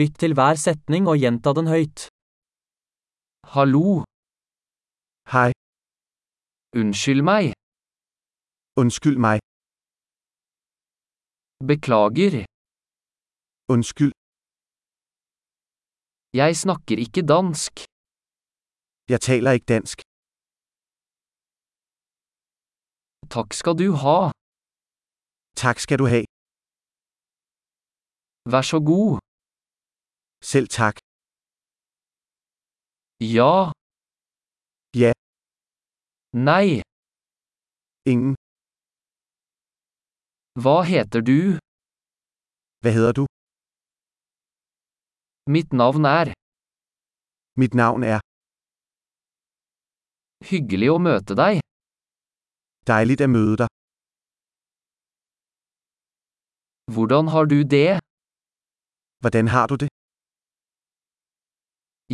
Lytt til hver setning og gjenta den høyt. Hallo, Hej, unnskyld meg, undskyld mig, beklager, undskyld, jeg snakker ikke dansk. jeg taler ikke dansk. Takk skal du ha, Tak skal du have. vær så god. Selv tak. Ja. Ja. Nei, Ingen. hva heter du? Hvad hedder du? Mitt navn er. Mit navn er. Hyggelig å møte deg. Dejligt at møde dig. Hvordan har du det? Hvordan har du det?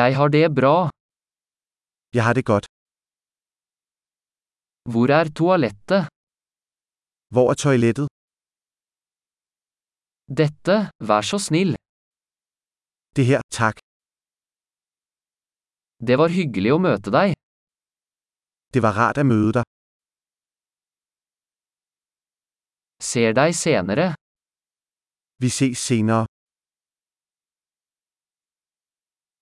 Jeg har det bra. Jeg har det godt. Hvor er toalettet? Hvor er toilettet? Dette, vær så snill. Det her, tak. Det var hyggelig å møte deg. Det var rart at møde dig. Ser deg senere. Vi ses senere.